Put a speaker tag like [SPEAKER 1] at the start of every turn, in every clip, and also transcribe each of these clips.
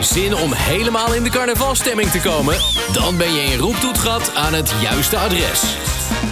[SPEAKER 1] Zin om helemaal in de carnavalstemming te komen? Dan ben je in Roeptoetgat aan het juiste adres.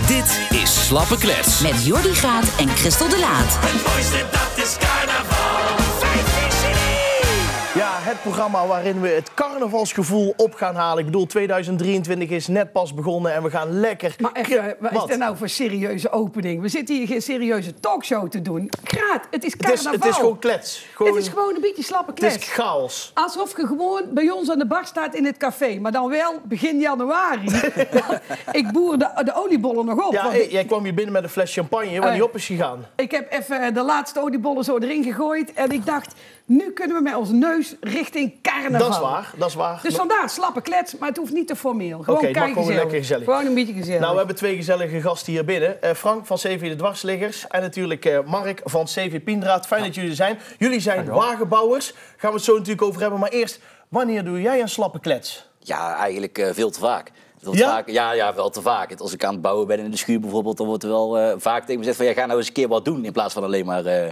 [SPEAKER 1] Dit is Slappe Klets.
[SPEAKER 2] Met Jordi Graat en Christel de Laat.
[SPEAKER 3] Het mooiste dat is carnaval. Vijf is in één.
[SPEAKER 4] Ja, het programma waarin we het carnavalsgevoel op gaan halen. Ik bedoel, 2023 is net pas begonnen en we gaan lekker...
[SPEAKER 5] Maar even, wat is
[SPEAKER 4] Wat?
[SPEAKER 5] dit nou voor serieuze opening? We zitten hier geen serieuze talkshow te doen. Kraat, het is
[SPEAKER 4] Het is,
[SPEAKER 5] carnaval.
[SPEAKER 4] het is gewoon klets. Gewoon,
[SPEAKER 5] Het is gewoon een beetje slappe
[SPEAKER 4] het
[SPEAKER 5] klets.
[SPEAKER 4] is chaos.
[SPEAKER 5] Alsof je gewoon bij ons aan de bar staat in het café. Maar dan wel begin januari. Want ik boer de, de oliebollen nog op.
[SPEAKER 4] Ja,
[SPEAKER 5] want
[SPEAKER 4] hey,
[SPEAKER 5] ik,
[SPEAKER 4] jij kwam hier binnen met een fles champagne waar
[SPEAKER 5] Hey.
[SPEAKER 4] die op is gegaan.
[SPEAKER 5] ik heb even de laatste oliebollen zo erin gegooid. En ik dacht, nu kunnen we met ons neus richting carnaval.
[SPEAKER 4] Dat is waar, dat is waar. Nou,
[SPEAKER 5] Dus vandaar slappe klets, maar het hoeft niet te formeel. Gewoon
[SPEAKER 4] Oké,
[SPEAKER 5] okay,
[SPEAKER 4] maar gewoon lekker gezellig.
[SPEAKER 5] Gewoon een beetje gezellig.
[SPEAKER 4] Nou, we hebben twee gezellige gasten hier binnen. Eh, Frank van CV de Dwarsliggers en natuurlijk eh, Mark van CV Pindraad. Fijn dat jullie er zijn. Jullie zijn wagenbouwers. Gaan we het zo natuurlijk over hebben. Maar eerst, wanneer doe jij een slappe klets?
[SPEAKER 6] Ja, eigenlijk eh, veel te vaak. Veel te
[SPEAKER 4] Ja?
[SPEAKER 6] vaak. Ja, ja, wel te vaak. Als ik aan het bouwen ben in de schuur bijvoorbeeld, dan wordt er wel eh, vaak tegen me gezegd van... Ja, ga nou eens een keer wat doen in plaats van alleen maar, eh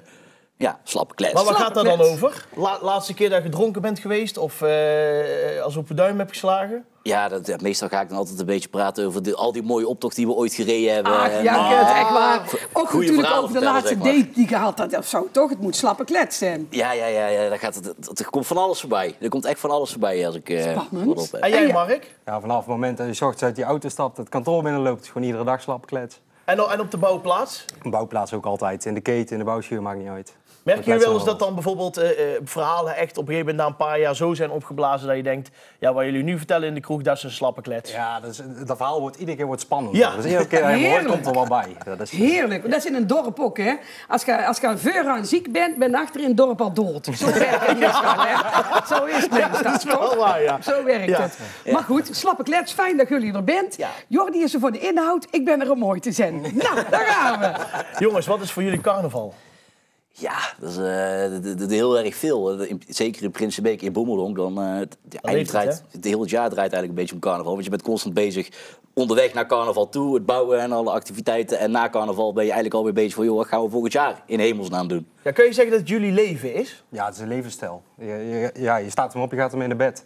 [SPEAKER 6] ja, slap klets.
[SPEAKER 4] Maar waar
[SPEAKER 5] Slappe
[SPEAKER 4] gaat dat dan
[SPEAKER 5] klets.
[SPEAKER 4] over? La- laatste keer dat je dronken bent geweest of eh, als op de duim hebt geslagen?
[SPEAKER 6] Ja, dat, ja, meestal ga ik dan altijd een beetje praten over de, al die mooie optochten die we ooit gereden hebben.
[SPEAKER 5] Ach,
[SPEAKER 6] En,
[SPEAKER 5] Ah, ja,
[SPEAKER 6] eh,
[SPEAKER 5] ik het echt waar. Ook
[SPEAKER 6] goeie
[SPEAKER 5] natuurlijk
[SPEAKER 6] verhalen
[SPEAKER 5] over de
[SPEAKER 6] vertellen,
[SPEAKER 5] laatste
[SPEAKER 6] zeg maar.
[SPEAKER 5] date die je had had of zo, toch? Het moet slappe klets zijn.
[SPEAKER 6] ja, ja, ja, ja, daar gaat het, het- er komt van alles voorbij. Er komt echt van alles voorbij als ik eh
[SPEAKER 5] Spannend.
[SPEAKER 6] wat op heb.
[SPEAKER 4] En jij,
[SPEAKER 5] En ja.
[SPEAKER 4] Mark?
[SPEAKER 7] Ja, vanaf het moment dat je 's ochtends uit die auto stapt, het kantoor binnenloopt, is gewoon iedere dag slapklets.
[SPEAKER 4] En, o- en op de bouwplaats?
[SPEAKER 7] Een bouwplaats ook altijd. In de keten, in de bouwschuur, maakt niet uit.
[SPEAKER 4] Merk je
[SPEAKER 7] Klets
[SPEAKER 4] wel
[SPEAKER 7] en
[SPEAKER 4] eens dat
[SPEAKER 7] alles.
[SPEAKER 4] dan bijvoorbeeld eh, eh, verhalen echt op een gegeven moment na een paar jaar zo zijn opgeblazen dat je denkt, ja, wat jullie nu vertellen in de kroeg, dat is een slappe klets.
[SPEAKER 7] Ja, dat, is, dat verhaal wordt iedere keer wordt spannend.
[SPEAKER 4] Ja.
[SPEAKER 7] Dus iedere keer dat je hem hoort,
[SPEAKER 5] Heerlijk.
[SPEAKER 7] komt er wel bij. Dat is,
[SPEAKER 5] Heerlijk. Dat is in een dorp ook, hè? Als je, als je aan veur aan ziek bent, ben je achter in het dorp al dood. Zo werkt het meestal, hè? Zo is het meestal,
[SPEAKER 4] dat is wel
[SPEAKER 5] toch?
[SPEAKER 4] waar, ja.
[SPEAKER 5] Zo werkt
[SPEAKER 4] Ja.
[SPEAKER 5] het. Maar goed, slappe klets, fijn dat jullie er bent. Jordi is er voor de inhoud, ik ben er om mooi te zijn. Nou, daar gaan we.
[SPEAKER 4] Jongens, wat is voor jullie carnaval?
[SPEAKER 6] Ja, dat is eh, d- d- d- heel erg veel. In- zeker in Prinsenbeek, in Bommelong, dan eh, t- ja,
[SPEAKER 4] leeft het,
[SPEAKER 6] eigenlijk draait, het hele jaar draait eigenlijk een beetje om carnaval. Want je bent constant bezig onderweg naar carnaval toe, het bouwen en alle activiteiten. En na carnaval ben je eigenlijk alweer bezig van, joh, wat gaan we volgend jaar in hemelsnaam doen?
[SPEAKER 4] Ja, kun je zeggen dat het jullie leven is?
[SPEAKER 7] ja, het is een levensstijl. Je, je- ja, je staat hem op, je gaat hem in de bed.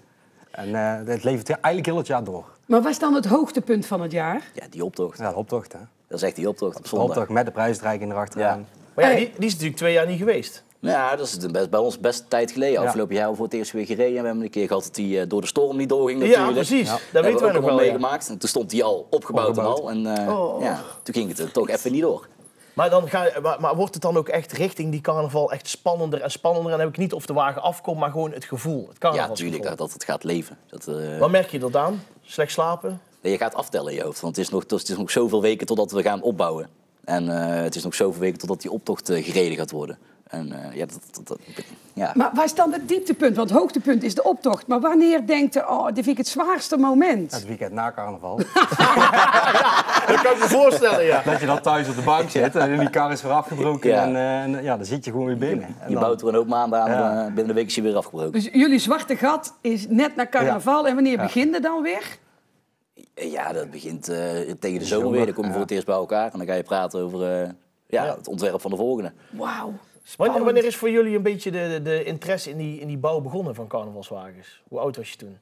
[SPEAKER 7] En eh, het levert eigenlijk heel het jaar door.
[SPEAKER 5] Maar wat is dan het hoogtepunt van het jaar?
[SPEAKER 6] Ja, die optocht.
[SPEAKER 7] Ja, de optocht, hè.
[SPEAKER 6] Dat is echt die optocht op
[SPEAKER 7] De
[SPEAKER 6] zondag.
[SPEAKER 7] optocht met de prijsdreiking erachteraan.
[SPEAKER 4] Maar ja,
[SPEAKER 5] Hey.
[SPEAKER 4] die, die is natuurlijk twee jaar niet geweest.
[SPEAKER 6] Nou Ja, dat is de best, bij ons best tijd geleden. Afgelopen jaar hebben we voor het eerst weer gereden. En we hebben een keer gehad dat die eh, door de storm niet doorging natuurlijk.
[SPEAKER 4] precies. Ja. Dat
[SPEAKER 6] hebben
[SPEAKER 4] weten wij
[SPEAKER 6] ook
[SPEAKER 4] nog
[SPEAKER 6] allemaal
[SPEAKER 4] wel, ja. Oh.
[SPEAKER 6] meegemaakt. En toen stond die al opgebouwd,
[SPEAKER 7] Opgebouwd.
[SPEAKER 6] en al. En eh, ja, toen ging het er toch even niet door.
[SPEAKER 4] Maar, dan ga, maar, maar wordt het dan ook echt richting die carnaval echt spannender en spannender? En dan heb ik niet of de wagen afkomt, maar gewoon het gevoel. Het
[SPEAKER 6] Ja,
[SPEAKER 4] carnavalsgevoel.
[SPEAKER 6] natuurlijk dat, dat het gaat leven. Dat, eh,
[SPEAKER 4] Wat merk je er dan? Slecht slapen?
[SPEAKER 6] je gaat aftellen in je hoofd. Want het is nog, het is nog zoveel weken totdat we gaan opbouwen. En eh, het is nog zoveel weken totdat die optocht eh, gereden gaat worden. En eh, ja, dat, dat, dat- ja.
[SPEAKER 5] Maar waar is dan het dieptepunt? Want het hoogtepunt is de optocht. Maar wanneer denkt je, oh, dit vind ik het zwaarste moment?
[SPEAKER 7] Het weekend na carnaval.
[SPEAKER 4] Dat kan ik me voorstellen, ja.
[SPEAKER 7] dat je dan thuis op de bank zit en die kar is weer afgebroken.
[SPEAKER 6] Ja.
[SPEAKER 7] En, eh, en ja, dan zit je gewoon weer binnen. En
[SPEAKER 6] je
[SPEAKER 7] dan-
[SPEAKER 6] bouwt er een hoop maanden aan.
[SPEAKER 7] Ja.
[SPEAKER 6] en, eh, binnen een week is je weer afgebroken.
[SPEAKER 5] Dus jullie zwarte gat is net na carnaval. En wanneer begint het dan weer?
[SPEAKER 6] Eh, Ja, dat begint eh, tegen de zomer weer. Dan kom je voor het eerst bij elkaar. En dan ga je praten over eh, ja, het ontwerp van de volgende.
[SPEAKER 5] Wauw.
[SPEAKER 4] Wanneer, wanneer is voor jullie een beetje de, de, de interesse in die, in die bouw begonnen van carnavalswagens? Hoe oud was je toen?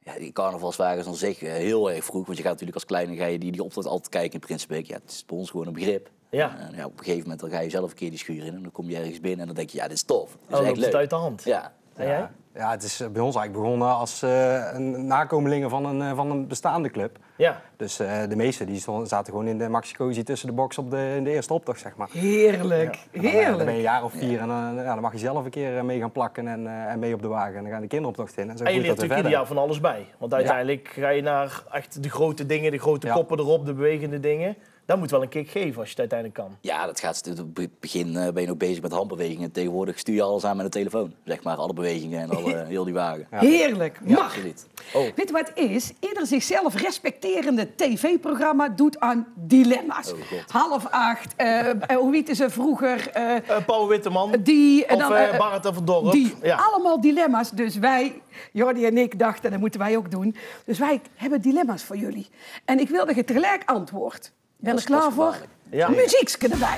[SPEAKER 6] Ja, die carnavalswagens dan zeg je heel erg vroeg. Want je gaat natuurlijk als kleine ga je die, die optocht altijd kijken in Prinsenbeek. Ja, het is bij ons gewoon een begrip.
[SPEAKER 4] Ja.
[SPEAKER 6] En, eh, ja, op een gegeven moment dan ga je zelf een keer die schuur in. En dan kom je ergens binnen en dan denk je, ja, dit is tof. Dit is
[SPEAKER 4] Oh,
[SPEAKER 6] echt
[SPEAKER 4] loopt het
[SPEAKER 6] leuk.
[SPEAKER 4] uit de hand.
[SPEAKER 6] Ja.
[SPEAKER 4] En jij?
[SPEAKER 7] Ja, het is eh, bij ons eigenlijk begonnen als eh, een nakomelingen van een, eh, van een bestaande club.
[SPEAKER 4] Ja.
[SPEAKER 7] Dus eh, de meeste die stonden- zaten gewoon in de maxi cosi tussen de box op de, in de eerste optocht, zeg maar.
[SPEAKER 5] Heerlijk.
[SPEAKER 7] Dan, eh, Dan ben je
[SPEAKER 5] Heerlijk.
[SPEAKER 7] een jaar of vier en dan, ja, dan mag je zelf een keer eh, mee gaan plakken en, eh, en mee op de wagen. En dan gaan de kinderoptocht in. En,
[SPEAKER 4] En je
[SPEAKER 7] zo
[SPEAKER 4] leert
[SPEAKER 7] groeit
[SPEAKER 4] natuurlijk
[SPEAKER 7] dat weer
[SPEAKER 4] ieder jaar
[SPEAKER 7] verder.
[SPEAKER 4] van alles bij. Want uiteindelijk ga je naar echt de grote dingen, de grote
[SPEAKER 7] Ja.
[SPEAKER 4] koppen erop, de bewegende dingen. Dat moet wel een kick geven als je het uiteindelijk kan.
[SPEAKER 6] Ja, dat gaat. In het be- begin eh, ben je nog bezig met handbewegingen. Tegenwoordig stuur je alles aan met een telefoon. Zeg maar, alle bewegingen en alle, eh, heel die wagen.
[SPEAKER 5] Heerlijk. Mag.
[SPEAKER 6] absoluut.
[SPEAKER 5] Weet je wat het is? Ieder zichzelf respecterende tv-programma doet aan dilemma's. Half acht, eh, eh, hoe heette ze vroeger? eh,
[SPEAKER 4] Eh Paul Witteman
[SPEAKER 5] die, en
[SPEAKER 4] of
[SPEAKER 5] dan,
[SPEAKER 4] eh
[SPEAKER 5] eh,
[SPEAKER 4] Barend van Dorp.
[SPEAKER 5] Die,
[SPEAKER 4] Ja.
[SPEAKER 5] Allemaal dilemma's. Dus wij, Jordi en ik, dachten, dat moeten wij ook doen. Dus wij hebben dilemma's voor jullie. En ik wil dat je tegelijk antwoordt. Ben je er
[SPEAKER 6] is- dat
[SPEAKER 5] klaar
[SPEAKER 6] is
[SPEAKER 5] voor?
[SPEAKER 6] gevaarlijk.
[SPEAKER 4] Ja.
[SPEAKER 5] Muziekje erbij.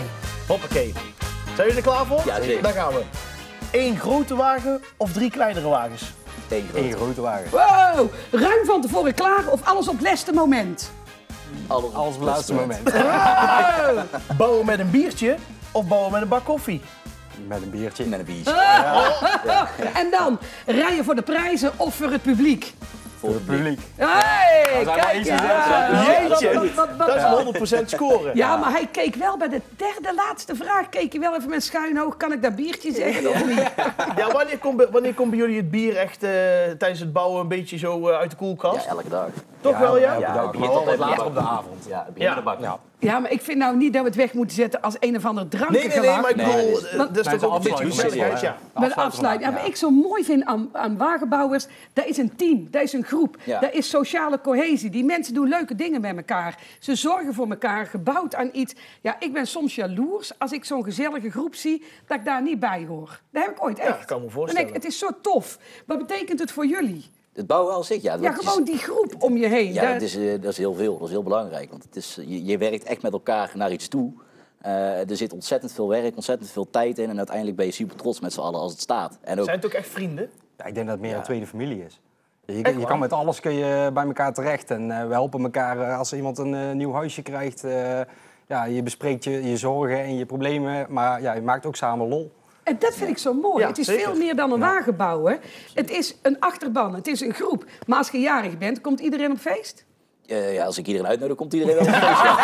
[SPEAKER 4] Hoppakee. Zijn jullie er klaar voor?
[SPEAKER 6] Ja, zeker.
[SPEAKER 4] Daar gaan we. Eén grote wagen of drie kleinere wagens?
[SPEAKER 6] één grote.
[SPEAKER 7] ingegroeid waren.
[SPEAKER 5] Wow! Ruim van tevoren klaar of alles op het laatste moment?
[SPEAKER 6] Alles,
[SPEAKER 7] Alles op het laatste moment.
[SPEAKER 4] Bouwen met een biertje of bouwen met een bak koffie?
[SPEAKER 7] Met een biertje.
[SPEAKER 6] Met een biertje.
[SPEAKER 5] En dan rijden voor de prijzen of voor het publiek?
[SPEAKER 6] Voor het publiek.
[SPEAKER 5] Hey,
[SPEAKER 7] zijn maar
[SPEAKER 5] kijk
[SPEAKER 7] iets
[SPEAKER 5] eens.
[SPEAKER 7] gezegd,
[SPEAKER 4] Jeetje,
[SPEAKER 5] Wat, wat, wat,
[SPEAKER 4] dat is
[SPEAKER 5] wat?
[SPEAKER 4] een 100% scoren.
[SPEAKER 5] Ja, maar hij keek wel bij de derde laatste vraag. Keek hij wel even met schuin oog. Kan ik dat biertje zeggen of niet?
[SPEAKER 4] Ja, wanneer komt bij, wanneer komt bij jullie het bier echt eh, tijdens het bouwen een beetje zo eh, uit de
[SPEAKER 6] Ja,
[SPEAKER 4] koelkast?
[SPEAKER 6] elke dag.
[SPEAKER 4] Toch wel, ja?
[SPEAKER 7] elke dag.
[SPEAKER 6] het begint altijd later op de avond. Ja, het begint
[SPEAKER 4] Ja.
[SPEAKER 6] met de bak.
[SPEAKER 7] Ja.
[SPEAKER 5] Ja, maar ik vind nou niet dat we het weg moeten zetten als een of ander
[SPEAKER 4] Nee, nee,
[SPEAKER 5] drankengelach.
[SPEAKER 4] nee, maar ik
[SPEAKER 6] Nee,
[SPEAKER 4] bedoel,
[SPEAKER 6] dat is-
[SPEAKER 4] eh, dat is
[SPEAKER 7] Bij
[SPEAKER 4] toch
[SPEAKER 7] de
[SPEAKER 4] ook een beetje
[SPEAKER 7] afsluiting van de
[SPEAKER 4] gezelligheid, ja.
[SPEAKER 7] dag, ja.
[SPEAKER 5] Bij de
[SPEAKER 7] Afsluiten van de
[SPEAKER 5] afsluiting. Ja,
[SPEAKER 7] dag,
[SPEAKER 5] wat
[SPEAKER 7] ja.
[SPEAKER 5] ik zo mooi vind aan, aan wagenbouwers, dat is een team, dat is een groep,
[SPEAKER 6] Ja.
[SPEAKER 5] dat is sociale cohesie. Die mensen doen leuke dingen met elkaar. Ze zorgen voor elkaar, gebouwd aan iets. Ja, ik ben soms jaloers als ik zo'n gezellige groep zie, dat ik daar niet bij hoor. Dat heb ik ooit echt.
[SPEAKER 4] ik kan me voorstellen.
[SPEAKER 5] Dan denk ik, het is zo tof. Wat betekent het voor jullie?
[SPEAKER 6] Het bouwen al zich, ja.
[SPEAKER 5] Ja,
[SPEAKER 6] dat is-
[SPEAKER 5] gewoon die groep om je heen.
[SPEAKER 6] Ja,
[SPEAKER 5] Daar-
[SPEAKER 6] dat is, eh, dat is heel veel. Dat is heel belangrijk. Want het is, eh, je, je werkt echt met elkaar naar iets toe. Eh, er zit ontzettend veel werk, ontzettend veel tijd in. En uiteindelijk ben je super trots met z'n allen als het staat. En ook,
[SPEAKER 4] Zijn het ook echt vrienden?
[SPEAKER 7] Ja, ik denk dat het meer een tweede familie is. Je, je
[SPEAKER 4] waar?
[SPEAKER 7] kan met alles kun je bij elkaar terecht. En eh, we helpen elkaar eh, als iemand een eh, nieuw huisje krijgt. eh, ja, je bespreekt je, je zorgen en je problemen. Maar ja, je maakt ook samen lol.
[SPEAKER 5] En dat vind ik zo mooi.
[SPEAKER 4] Ja,
[SPEAKER 5] het is
[SPEAKER 4] zeker.
[SPEAKER 5] veel meer dan een wagen bouwen. Het is een achterban, het is een groep. Maar als je jarig bent, komt iedereen op feest?
[SPEAKER 6] eh, ja, als ik iedereen uitnodig, komt iedereen wel. Dus op een feestje.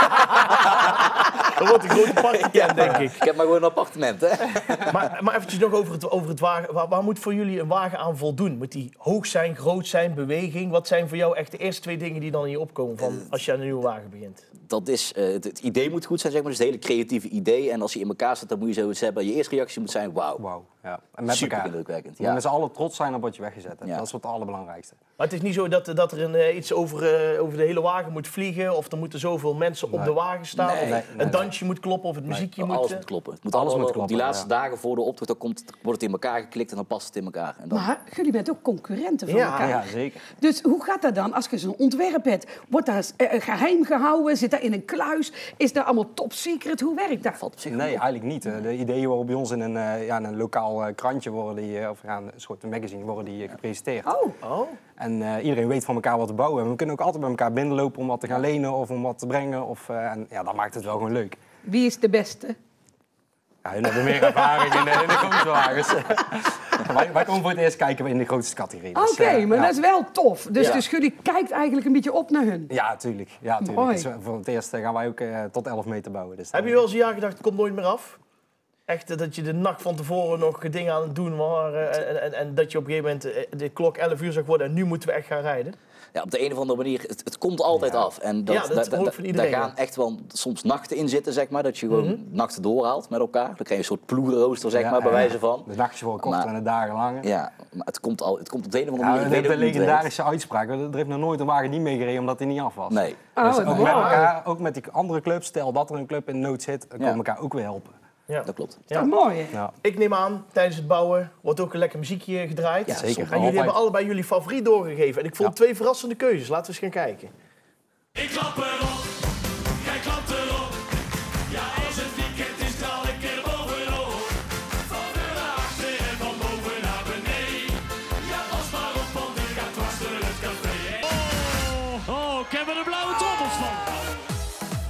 [SPEAKER 4] Dat wordt een grote party, denk ik.
[SPEAKER 6] ik heb maar gewoon een appartement, hè.
[SPEAKER 4] Maar, maar eventjes nog over het, over het wagen. Waar, waar moet voor jullie een wagen aan voldoen? Moet die hoog zijn, groot zijn, beweging? Wat zijn voor jou echt de eerste twee dingen die dan in je opkomen van als je aan een nieuwe wagen begint?
[SPEAKER 6] dat is, eh, het, het idee moet goed zijn, zeg maar. Dus het hele creatieve idee. En als je in elkaar zit, dan moet je zoiets hebben. Je eerste reactie moet zijn, wauw.
[SPEAKER 7] Wauw. Ja. En met
[SPEAKER 6] Super
[SPEAKER 7] elkaar.
[SPEAKER 6] indrukwekkend,
[SPEAKER 7] Je
[SPEAKER 6] ja.
[SPEAKER 7] moet met z'n allen trots zijn op wat je weggezet hebt.
[SPEAKER 6] Ja.
[SPEAKER 7] Dat is wat het allerbelangrijkste.
[SPEAKER 4] Maar het is niet zo dat, dat er een, eh, iets over, eh, over de hele wagen moet vliegen. Of er moeten zoveel mensen op de wagen staan.
[SPEAKER 6] Nee,
[SPEAKER 4] of
[SPEAKER 6] nee,
[SPEAKER 4] het dansje moet kloppen of het muziekje
[SPEAKER 6] Alles
[SPEAKER 4] moet...
[SPEAKER 6] moet,
[SPEAKER 4] eh,
[SPEAKER 6] kloppen. Het moet
[SPEAKER 7] alles
[SPEAKER 6] allemaal-
[SPEAKER 7] moet kloppen,
[SPEAKER 6] Op die laatste
[SPEAKER 7] ja.
[SPEAKER 6] dagen voor de optocht, dan komt, het- wordt het in elkaar geklikt en dan past het in elkaar. En dan,
[SPEAKER 5] Maar jullie bent ook concurrenten van
[SPEAKER 4] Ja,
[SPEAKER 5] elkaar.
[SPEAKER 7] ja, zeker.
[SPEAKER 5] Dus hoe gaat dat dan als je zo'n ontwerp hebt? Wordt dat eh, geheim gehouden? Zit dat in een kluis? Is dat allemaal top secret? Hoe werkt dat?
[SPEAKER 6] valt op zich
[SPEAKER 7] Nee, eigenlijk niet. Eh, De ideeën worden bij ons in een, eh, ja, in een lokaal eh, krantje worden die, eh, of ja, een soort magazine worden die eh, gepresenteerd.
[SPEAKER 5] Oh,
[SPEAKER 4] Oh,
[SPEAKER 7] En eh, iedereen weet van elkaar wat te bouwen. En we kunnen ook altijd bij elkaar binnenlopen om wat te gaan lenen of om wat te brengen. Of, eh, en ja, dat maakt het wel gewoon leuk.
[SPEAKER 5] wie is de beste?
[SPEAKER 7] Ja, jullie hebben meer ervaring in de, in de grote wagens. wij, wij komen voor het eerst kijken in de grootste categorie.
[SPEAKER 5] Oké,
[SPEAKER 7] Dus, eh,
[SPEAKER 5] maar
[SPEAKER 7] ja.
[SPEAKER 5] dat is wel tof. Dus,
[SPEAKER 4] Ja.
[SPEAKER 5] dus jullie kijkt eigenlijk een beetje op naar hun.
[SPEAKER 7] Ja, tuurlijk. Ja, tuurlijk.
[SPEAKER 5] Mooi.
[SPEAKER 7] Dus, eh, voor het eerst eh, gaan wij ook eh, tot 11 meter bouwen. Dus dan-
[SPEAKER 4] Heb je wel eens een jaar gedacht, het komt nooit meer af? Echt eh, dat je de nacht van tevoren nog dingen aan het doen was. eh, en, en, en dat je op een gegeven moment eh, de klok 11 uur zag worden en nu moeten we echt gaan rijden.
[SPEAKER 6] Ja, op de een of andere manier, het, het komt altijd af. En dat,
[SPEAKER 4] Ja, dat
[SPEAKER 6] da-
[SPEAKER 4] hoor ik
[SPEAKER 6] da-
[SPEAKER 4] van
[SPEAKER 6] da-
[SPEAKER 4] iedereen,
[SPEAKER 6] Daar
[SPEAKER 4] ja.
[SPEAKER 6] gaan echt wel soms nachten in zitten, zeg maar. Dat je gewoon nachten doorhaalt met elkaar. Dan krijg je een soort ploegenrooster, zeg
[SPEAKER 7] Mhm. Ja,
[SPEAKER 6] maar, bij
[SPEAKER 7] ja.
[SPEAKER 6] wijze van.
[SPEAKER 7] De nachtjes worden korter
[SPEAKER 6] Maar-
[SPEAKER 7] en de dagen langer.
[SPEAKER 6] Ja, maar het komt, al, het komt op de een of andere
[SPEAKER 7] Ja,
[SPEAKER 6] manier. ik weet
[SPEAKER 7] de, de
[SPEAKER 6] ook niet hoe het
[SPEAKER 7] legendarische uitspraak. Er heeft nog nooit een wagen niet meegereden omdat hij niet af was.
[SPEAKER 6] werkt. Nee.
[SPEAKER 5] Oh,
[SPEAKER 7] Dus ook,
[SPEAKER 5] wow.
[SPEAKER 7] met elkaar, ook met die andere clubs. Stel dat er een club in nood zit,
[SPEAKER 6] Ja.
[SPEAKER 7] dan komen we elkaar ook weer helpen.
[SPEAKER 4] Ja.
[SPEAKER 6] Dat klopt.
[SPEAKER 5] Dat is mooi, hè?
[SPEAKER 7] Ja.
[SPEAKER 4] Ik neem aan, tijdens het bouwen wordt ook een lekker muziekje gedraaid.
[SPEAKER 7] Ja, zeker.
[SPEAKER 4] En jullie
[SPEAKER 7] Altijd.
[SPEAKER 4] hebben allebei jullie favoriet doorgegeven. En ik vond
[SPEAKER 7] Ja.
[SPEAKER 4] twee verrassende keuzes. Laten we eens gaan kijken.
[SPEAKER 3] Ik klap erop, jij klapt erop. Ja, als het weekend is, knal ik er bovenop. Van voor naar achter en van boven naar beneden. Ja, pas maar op, want ik ga dwars door het café. Oh, oh, ik heb er de blauwe toppels van.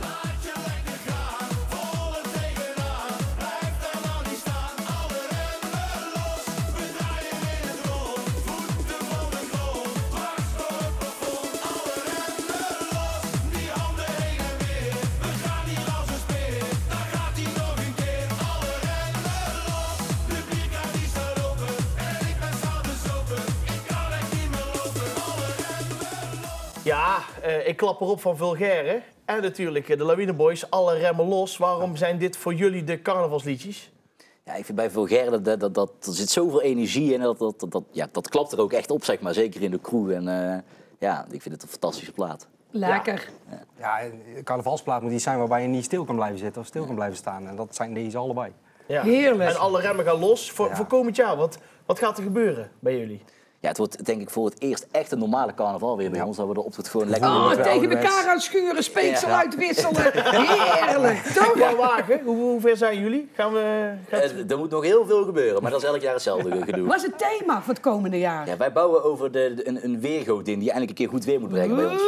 [SPEAKER 3] Laat je lekker gaan, vol er tegenaan. Blijf daar nou niet staan, alle remmen los. We draaien in het rond, voeten van de grond. Dwars door het plafond, alle remmen los. Die handen heen en weer, we gaan niet als een speer. Daar gaat hij nog een keer, alle remmen los. De bierkaart die staat open, en ik ben staan bezopen. Ik kan echt niet meer lopen, alle
[SPEAKER 4] Ja, eh, ik klap erop van Vulgaire. En natuurlijk eh, de Lawine Boys, alle remmen los. Waarom zijn dit voor jullie de carnavalsliedjes?
[SPEAKER 6] Ja, ik vind bij Vulgaire, dat, dat, dat, er zit zoveel energie in. Dat, dat, dat, dat- ja, dat klapt er ook echt op, zeg maar. Zeker in de crew. En eh, ja, ik vind het een fantastische plaat.
[SPEAKER 5] Lekker.
[SPEAKER 7] Ja, eh, een carnavalsplaat moet iets zijn waarbij je niet stil kan blijven zitten of stil kan blijven staan. En dat zijn deze allebei.
[SPEAKER 4] Ja.
[SPEAKER 5] Heerlijk.
[SPEAKER 4] En alle remmen gaan los voor,
[SPEAKER 7] Ja.
[SPEAKER 4] voor komend jaar. Wat, wat gaat er gebeuren bij jullie?
[SPEAKER 6] Ja, het wordt denk ik voor het eerst echt een normale carnaval weer bij ons. Dat we de optocht gewoon lekker
[SPEAKER 5] Oh,
[SPEAKER 6] doen.
[SPEAKER 5] tegen elkaar aan schuren, speeksel
[SPEAKER 6] Ja.
[SPEAKER 5] uitwisselen. Heerlijk, toch?
[SPEAKER 4] Qua wagen, hoe, hoe ver zijn jullie? Gaan we... gaat-
[SPEAKER 6] Eh, Er moet nog heel veel gebeuren, maar dat is elk jaar hetzelfde gedoe.
[SPEAKER 5] Wat is het thema voor het komende jaar?
[SPEAKER 6] Ja, wij bouwen over de, de- een, een weergoot in die eindelijk een keer goed weer moet brengen bij ons.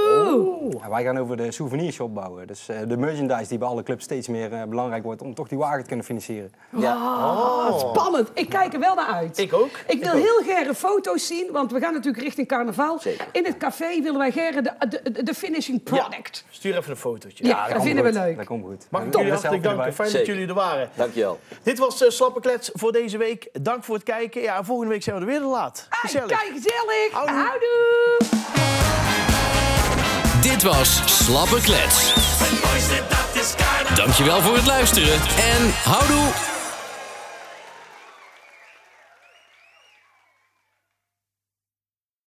[SPEAKER 7] Ja, wij gaan over de souvenirshop bouwen. Dus eh, de merchandise die bij alle clubs steeds meer eh, belangrijk wordt om toch die wagen te kunnen financieren.
[SPEAKER 6] Ja.
[SPEAKER 5] Spannend. Ik kijk er wel naar uit.
[SPEAKER 4] Ik ook.
[SPEAKER 5] Ik wil heel Gerre foto's zien, want we gaan natuurlijk richting carnaval.
[SPEAKER 6] Zeker.
[SPEAKER 5] In het café willen wij Gerre de, de, de- de finishing product.
[SPEAKER 4] Stuur even een fotootje.
[SPEAKER 5] Ja, dat
[SPEAKER 7] komt
[SPEAKER 5] vinden we
[SPEAKER 7] goed.
[SPEAKER 5] leuk.
[SPEAKER 7] Dat komt goed.
[SPEAKER 4] Mag ik
[SPEAKER 7] Doen we
[SPEAKER 4] jullie hartelijk
[SPEAKER 7] zelf
[SPEAKER 4] danken.
[SPEAKER 7] erbij.
[SPEAKER 4] Fijn dat
[SPEAKER 6] Zeker.
[SPEAKER 4] jullie er waren.
[SPEAKER 6] Dankjewel.
[SPEAKER 4] Dit was eh, Slappe Klets voor deze week. Dank voor het kijken. Ja, en volgende week zijn we er weer te laat.
[SPEAKER 5] Hey,
[SPEAKER 4] Gezellig.
[SPEAKER 5] kijk, gezellig.
[SPEAKER 4] Houdoe.
[SPEAKER 5] Houdoe.
[SPEAKER 1] Dit was Slappe Klets.
[SPEAKER 3] Het mooiste dat is carnaval.
[SPEAKER 1] Dankjewel voor het luisteren en houdoe!